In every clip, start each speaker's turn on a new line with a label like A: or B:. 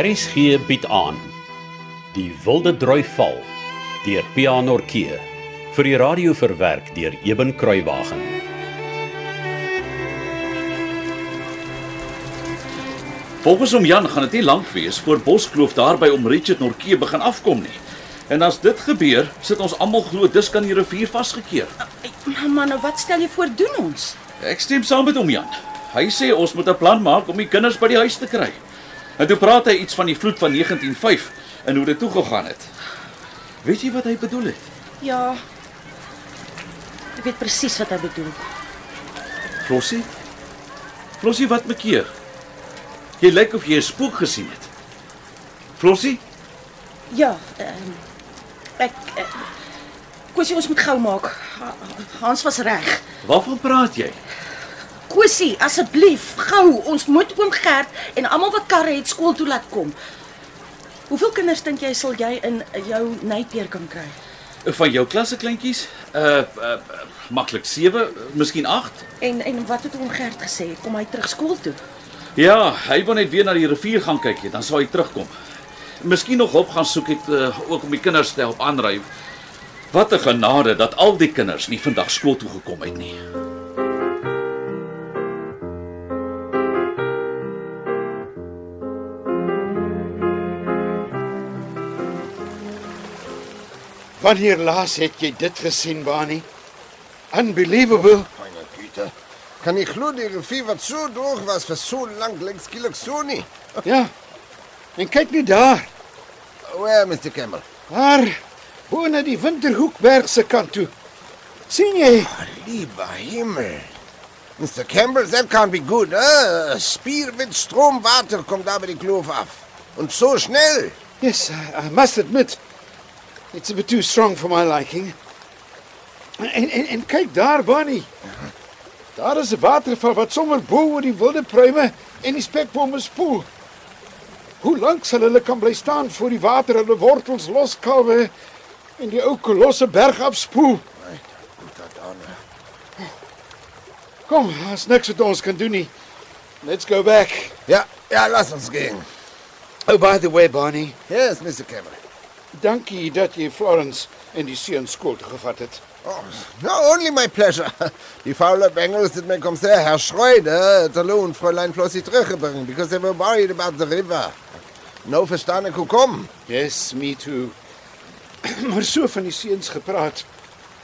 A: Aris gee bied aan. Die wilde droi val deur Pianorkee vir die radio verwerk deur Eben Kruiwagen.
B: Volgens hom Jan gaan dit nie lank wees voor Boskloof daarby om Richard Norkee begin afkom nie. En as dit gebeur, sit ons almal glo dis kan die rivier vasgekeer.
C: Maar nou wat stel jy voor doen ons?
B: Ek stem saam met hom Jan. Hy sê ons moet 'n plan maak om die kinders by die huis te kry. En toe praat hy iets van die vloed van 195 en hoe dit toe gegaan het. Weet jy wat hy bedoel het?
C: Ja. Ek weet presies wat hy bedoel.
B: Flossie? Flossie, wat maak keer? Jy lyk of jy 'n spook gesien het. Flossie?
C: Ja, ehm ek eh, Kosie, ons moet gou maak. Ha- Hans was reg.
B: Waarvan praat jy?
C: Kosie, asseblief, gou. Ons moet oom Gert en almal wat karre het skool toe laat kom. Hoeveel kinders dink jy sal jy in jou nypeer kan kry?
B: Van jou klasse kleintjies? Uh, uh maklik 7, miskien 8.
C: En en wat het oom Gert gesê? Kom hy terug skool toe?
B: Ja, hy wou net weer na die rivier gaan kyk, dan sal hy terugkom. Miskien nog op gaan soek het uh, ook om die kinders te help aanry. Wat 'n genade dat al die kinders nie vandag skool toe gekom het nie.
D: Wanneer laas het jy dit gesien, Bani? Unbelievable.
E: Meine Güte. Kan nie glo die rivier wat so droog was vir so lank lyk skielik so nie.
D: Ja. En kyk net daar.
E: Waar, Mr. Campbell?
D: Daar bo na die Winterhoekberg se kant toe. sien jy?
E: Lieber Himmel. Mr. Campbell, that can't be good. Eh? Spier mit Stromwater kommt da bei die Kloof ab. Und so schnell.
D: Yes, I, I must admit it's a bit too strong for my liking. En en, en kyk daar, Bani. Daar is 'n waterval wat sommer bo oor die wilde pruime en die spekbome spoel. Hoe lank sal hulle kan bly staan voor die water hulle wortels loskalwe en die ou kolosse berg afspoel?
E: Gut, dat aan.
D: Kom, daar's niks wat ons kan doen nie. Let's go back.
E: Ja, ja, lass uns gehen.
D: Oh by the way, Barney,
E: Yes, Mr. Campbell.
D: dankie dat jy Florence en die seun skool toe gevat het.
E: Oh, no, only my pleasure. Die faule Bengals did me come say, Herr Schreuder, hello and Fräulein Flossie zurückbringen, because they were worried about the river. No verstanden who come.
D: Yes, me too. maar so van die seuns gepraat.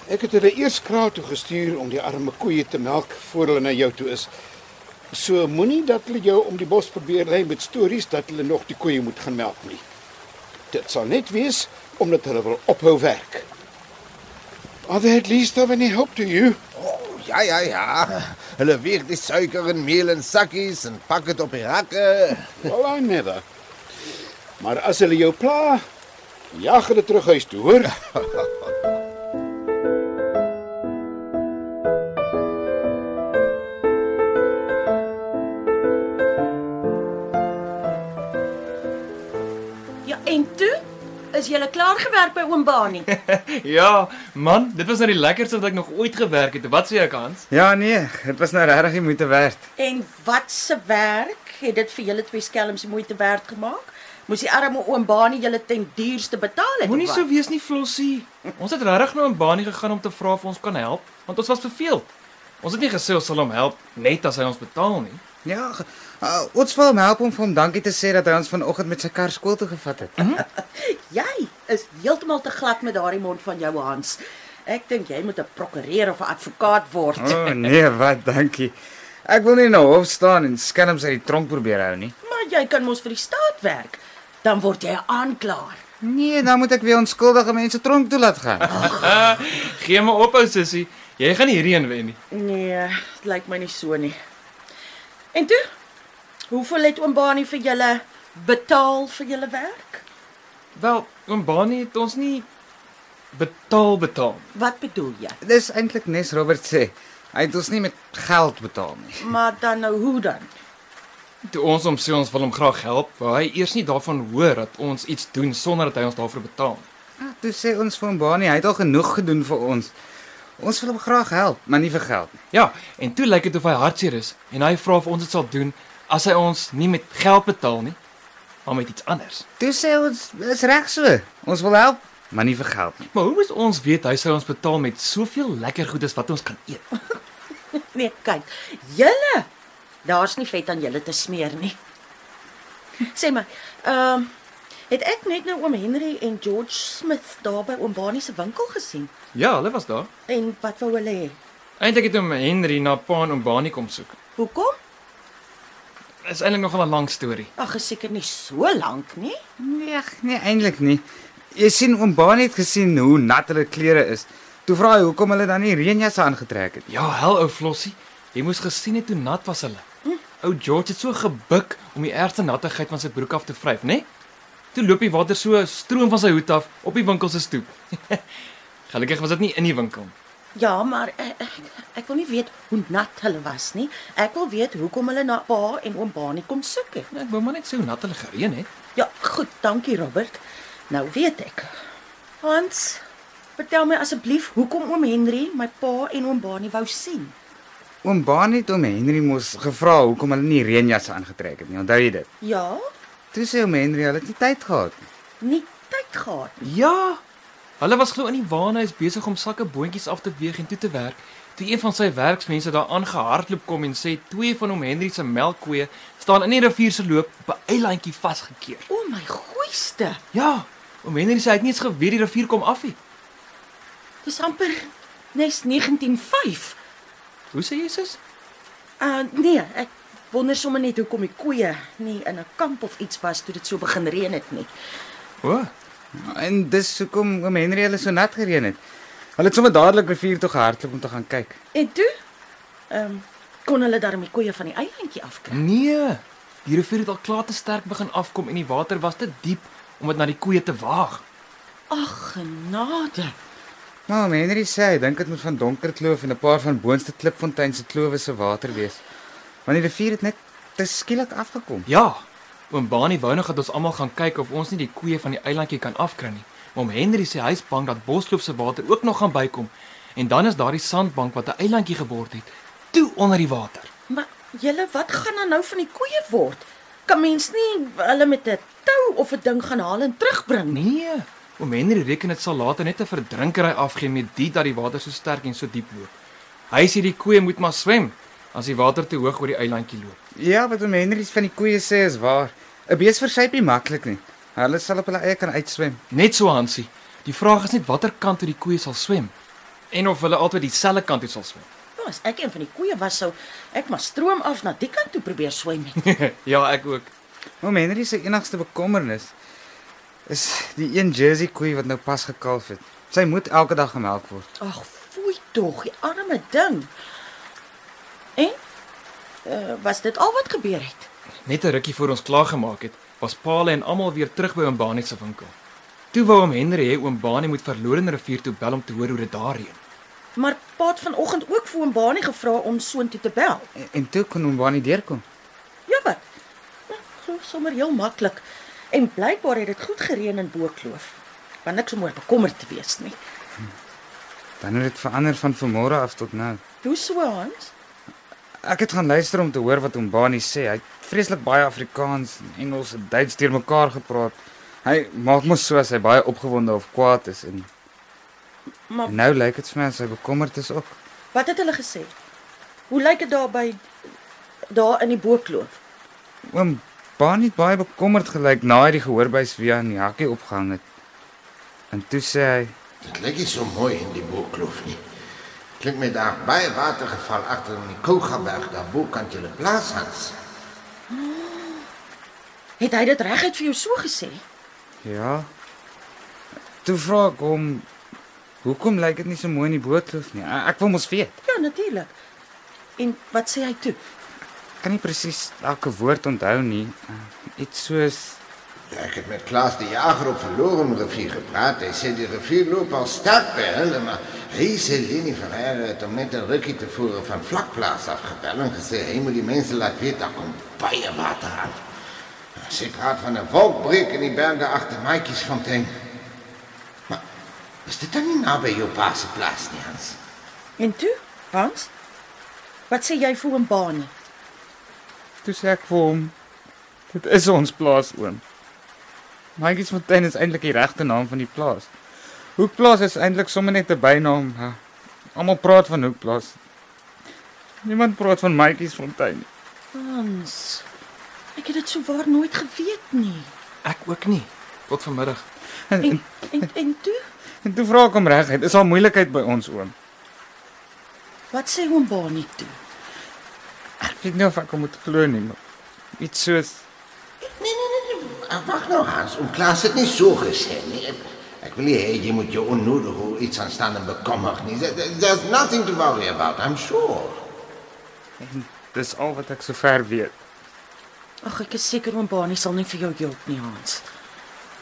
D: Ek het hulle eers kraal toe gestuur om die arme koeie te melk voor hulle na jou toe is. So moenie dat hulle jou om die bos probeer lei met stories dat hulle nog die koeie moet gaan melk nie. Dit sal net wees omdat hulle wil ophou werk. Are they at least of any help to you?
E: Oh, ja, ja, ja. Hulle weeg die suiker en meel in sakkies en pak dit op die rakke.
D: Well, I never. Maar as hulle jou pla, jag hulle terug huis toe, hoor?
C: Ja, en toe is jy klaar gewerk by oom Bani.
F: Ja, man, dit was nou die lekkerste wat ek nog ooit gewerk het. Wat sê jy, Hans?
G: Ja nee, dit was nou regtig die moeite werd.
C: En wat se werk het dit vir julle twee skelms moeite werd gemaak? Moes die arme oom Bani julle ten duurste betaal het?
F: Moenie
C: of
F: so
C: wat?
F: wees nie, Flossie. Ons het regtig na nou 'n baanie gegaan om te vra of ons kan help, want ons was verveel. Ons het nie gesê ons sal hom help net as hy ons betaal nie.
G: Ja, ge- uh, ons wil hom help om vir hom dankie te sê dat hy ons vanoggend met sy kar skool toe gevat het.
C: Jy is heeltemal te glad met daardie mond van jou Hans. Ek dink jy moet 'n prokureur of 'n advokaat word.
G: O oh, nee, wat dankie. Ek wil nie nou hof staan en skelms uit die tronk probeer hou nie.
C: Maar jy kan mos vir die staat werk. Dan word jy 'n aanklaer.
G: Nee, dan moet ek weer onskuldige mense tronk toe laat gaan.
F: Gee my op, ou sussie. Jy gaan nie hierdie een wen nie.
C: Nee, dit lyk my nie so nie. En toe, hoeveel het oom Bani vir julle betaal vir julle werk?
F: Wel, oom Baanie het ons nie betaal betaal.
C: Wat bedoel jy?
G: Dis eintlik nes Robert sê. Hy het ons nie met geld betaal nie.
C: Maar dan nou hoe dan?
F: Toe ons hom sê ons wil hom graag help, wou hy eers nie daarvan hoor dat ons iets doen sonder dat hy ons daarvoor betaal nie.
G: Ah, Toe sê ons vir hom Bani, hy het al genoeg gedoen vir ons. Ons wil hom graag help, maar nie vir geld nie.
F: Ja, en toe lyk dit of hy hartseer is en hy vra of ons dit sal doen as hy ons nie met geld betaal nie. maar met iets anders.
G: Toe sê ons, dis reg so. Ons wil help, maar nie vir geld nie.
F: Maar hoe moet ons weet hy sou ons betaal met soveel lekker goedes wat ons kan eet?
C: Nee, kyk. Julle. Daar's nie vet aan julle te smeer nie. Sê maar, ehm het ek net nou oom Henry en George Smith daar by oom Bani se winkel gesien?
F: Ja, hulle was daar.
C: En wat wou hulle hê?
F: Eintlik het hom Henry na Paan om Bani kom soek.
C: Hoekom?
F: Is eintlik nogal 'n lang storie.
C: Ag, is seker nie so lank nie.
G: Nee, ag, nee eintlik nie. Jy sien oom Baanie het gesien hoe nat hulle klere is. Toe vra hy hoekom hulle dan nie reënjasse aangetrek het nie.
F: Ja, hel ou Flossie, jy moes gesien het hoe nat was hulle. Ou George het so gebuk om die ergste nattigheid van sy broek af te vryf, né? Toe loop die water so stroom van sy hoed af op die winkel se stoep. Gelukkig was dit nie in die winkel. nie.
C: Ja, maar ek, ek, ek wil nie weet hoe nat hulle was nie. Ek wil weet hoekom hulle na pa en oom Bani kom soek het.
F: Ek wou maar net sê hoe nat hulle gereën het.
C: Ja, goed, dankie Robert. Nou weet ek. Hans, vertel my asseblief hoekom oom Henry my pa en oom Bani wou sien.
G: Oom Baanie het oom Henry mos gevra hoekom hulle nie reënjasse aangetrek het nie. Onthou jy dit?
C: Ja,
G: Toe sê oom Henry hulle het nie tyd gehad nie.
C: nie tyd gehad.
F: Ja. Hulle was glo in die waanhuis besig om sakke boontjies af te weeg en toe te werk. Toe een van sy werksmense daar aangehardloop kom en sê twee van hom Henry se melkkoeie staan in die rivier se loop op 'n eilandjie vasgekeer.
C: O my goeieste.
F: Ja, oom Henry sê hy het nie eens geweet die rivier kom af nie.
C: Dis amper nes 1905.
F: Hoe sê jy sis?
C: Uh nee, ek wonder sommer net hoekom die koeie nie in 'n kamp of iets was toe dit so begin reën het nie.
F: O,
G: En dis hoekom oom Henry hulle so nat gereën het. Hulle het sommer dadelik rivier toe gehardloop om te gaan kyk.
C: En toe ehm um, kon hulle daarmee koeie van die eilandjie afkry.
F: nee. Die rivier het al klaar te sterk begin afkom en die water was te diep om dit na die koeie te waag.
C: Ag genade.
G: Maar oom Henry sê hy dink dit moet van Donker Kloof en 'n paar van Boonste Klipfontein se klowe se water wees. Want die rivier het net te skielik afgekom.
F: Ja. Oom Bani wou nog dat ons almal gaan kyk of ons nie die koeie van die eilandjie kan afkry nie. Maar oom Henry sê hy's bang dat Bosloop se water ook nog gaan bykom en dan is daardie sandbank wat 'n eilandjie geword het, toe onder die water.
C: Maar julle, wat gaan dan nou van die koeie word? Kan mens nie hulle met 'n tou of 'n ding gaan haal en terugbring nie?
F: Nee. Oom Henry reken dit sal later net 'n verdrinkery afgee met dit dat die water so sterk en so diep loop. Hy sê die koeie moet maar swem as die water te hoog oor die eilandjie loop.
G: Ja, wat oom Henry van die koeie sê is waar. 'n Bees versyp nie maklik nie. Hulle sal op hulle eie kan uitswem.
F: Net so Hansie. Die vraag is net watter kant toe die koeie sal swem en of hulle altyd dieselfde kant toe sal swem.
C: Ja, as ek een van die koeie was sou ek maar stroom af na die kant toe probeer swem het.
F: ja, ek ook.
G: Oom Henry se enigste bekommernis is die een Jersey koei wat nou pas gekalf het. Sy moet elke dag gemelk word.
C: Ag, foei tog, die arme ding. En uh, was dit al wat gebeur het?
F: Net 'n rukkie voor ons klaar gemaak het, was Paal en almal weer terug by oom Bani se winkel. Toe wou hom Henry hê oom Bani moet verlorene rivier toe bel om te hoor hoe dit daar reën.
C: Maar Paat vanoggend ook vir oom Baanie gevra om soontoe te bel.
G: En, en toe kon hom baie nie deurkom.
C: Ja wat? Nou, So sommer heel maklik. En blykbaar het dit goed gereën in Bokloof. Want niks om oor bekommerd te wees nie.
G: Dan het dit verander van vanmôre af tot nou.
C: Hoe so Hans?
G: Ek het gaan luister om te hoor wat oom Bani sê. Hy het vreeslik baie Afrikaans en Engels en Duits deurmekaar gepraat. Hy maak mos so as hy baie opgewonde of kwaad is en
C: Maar
G: En nou lyk dit vir my as hy bekommerd is ook.
C: wat het hulle gesê? Hoe lyk dit daar by daar in die Bokloof?
G: Oom Baan het baie bekommerd gelyk na hy die gehoorbuis weer aan die hakkie opgehang het. En toe sê hy,
E: Dit lyk nie so mooi in die boekkloof nie. Klink my daar baie water geval agter in die Kougaberg daar bo kant julle plaas Hans.
C: Het hy dit reguit vir jou so gesê?
G: "Ja." Toe vra ek hom, "Hoekom lyk dit nie so mooi in die bootkloof nie? Ek ek wil mos weet."
C: Ja, natuurlik. En wat sê hy toe?
G: Ek kan nie presies elke woord onthou nie. Eh, Iets soos
E: Ek het met Klaas die jager op verlore rivier gepraat. Hy sê die rivier loop al sterk by hulle, maar hy sê Leni van Herre het om net 'n rukkie tevore van vlakplaas afgebel en gesê hy moet die mense laat weet daar kom baie water aan. Sy praat van 'n wolkbreek in die berge agter Maatjiesfontein. Maar is dit dan nie naby jou pa se plaas nie, Hans?
C: En toe? Hans? Wat sê jy vir oom Baanie?
G: toe sê ek vir hom, "Dit is ons plaas oom." Maatjiesfontein is eintlik die regte naam van die plaas. Hoekplaas is eintlik sommer net 'n bynaam. hè. Almal praat van Hoekplaas. Niemand praat van Maatjiesfontein nie.
C: Hans. Ek het dit souwaar nooit geweet nie.
F: Ek ook nie tot vanmiddag.
G: En,
C: En
G: en,
C: en en toe,
G: en toe vra ek hom reguit, is daar moeilikheid by ons oom?
C: wat sê oom Bani toe?
G: Ek weet nie of ek hom moet glo nie, maar iets soos
E: Nee, nee, nee, nee. Ah, Wacht nou, Hans. Oom Klaas het niet zo gezegd. Nee. Ik- Ik wil niet, hè, je moet je onnodig over iets aanstaan en bekommer. Nee, there- there- There's nothing to worry about, I'm sure.
G: dis al wat ek sover weet.
C: Ag, ek is seker oom Bani sal nie vir jou help nie, Hans.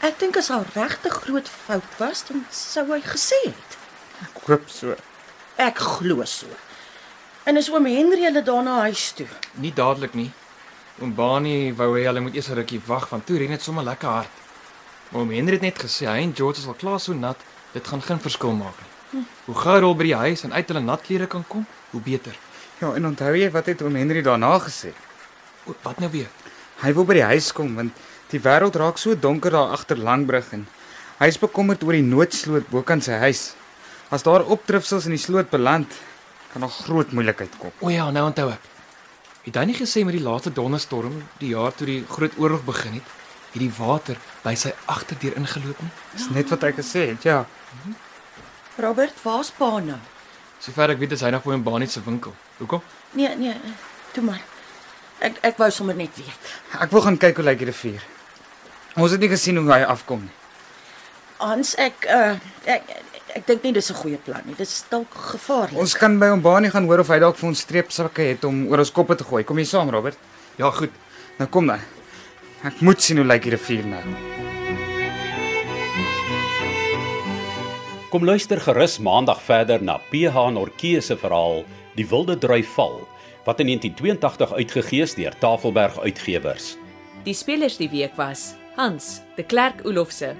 C: Ek dink as daar regtig groot fout was, dan sou hy gesê het.
G: Ek hoop so.
C: Ek glo so. En is oom Henry hulle daarna huis toe?
F: Nie dadelik nie. Oom Bani wou hê hulle moet eers 'n rukkie wag want toe reën dit sommer lekker hard. Maar oom Henry het net gesê hy en George is al klaar so nat, dit gaan geen verskil maak nie. Hoe gouer hulle by die huis en uit hulle nat klere kan kom, hoe beter.
G: Ja, en onthou jy wat het oom Henry daarna gesê?
F: O, wat nou weer?
G: Hy wil by die huis kom want die wêreld raak so donker daar agter Langbrug en hy is bekommerd oor die noodsloot bokant sy huis. As daar opdrifsels in die sloot beland, kan daar groot moeilikheid kom.
F: O ja, nou onthou ek. Het hy nie gesê met die laaste donderstorm die jaar toe die groot oorlog begin het, het die water by sy agterdeur ingeloop nie?
G: Dis net wat hy gesê het, ja.
C: Robert, waar's nou? Bani?
F: Sover ek weet is hy nog by oom Bani se winkel. Hoekom?
C: Nee, nee, toe maar. Ek ek wou sommer net weet.
G: Ek wil gaan kyk hoe lyk die rivier. Ons het nie gesien hoe hy afkom nie.
C: Hans, ek uh ek ek dink nie dis 'n goeie plan nie. Dit is dalk gevaarlik.
G: Ons kan by hom baanie gaan hoor of hy dalk vir ons streepsakke het om oor ons koppe te gooi. Kom jy saam, Robert?
F: Ja, goed.
G: Nou kom dan. Ek moet sien hoe lyk die rivier nou.
A: Kom luister gerus maandag verder na PH Nortjee se verhaal Die Wilde Drui Val wat in 1982 uitgegee is deur Tafelberg Uitgewers.
H: Die spelers die week was Hans, De Klerk Olofse,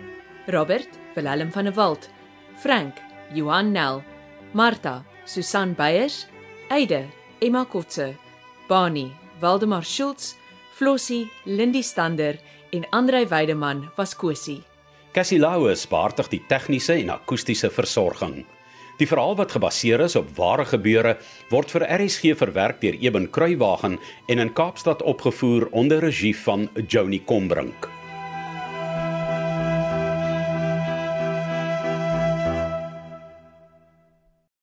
H: Robert, Willem van der Walt, Frank, Johan Nel, Martha, Susan Beyers, Eide, Emma Kotse, Bani, Waldemar Schultz, Flossie, Lindie Stander en Andrei Weideman was kosie.
A: Cassie Lauers beheerdig die tegniese en akoestiese versorging. Die verhaal wat gebaseer is op ware gebeure word vir RSG verwerk deur Eben Kruiwagen en in Kaapstad opgevoer onder regie van Joni Combrink.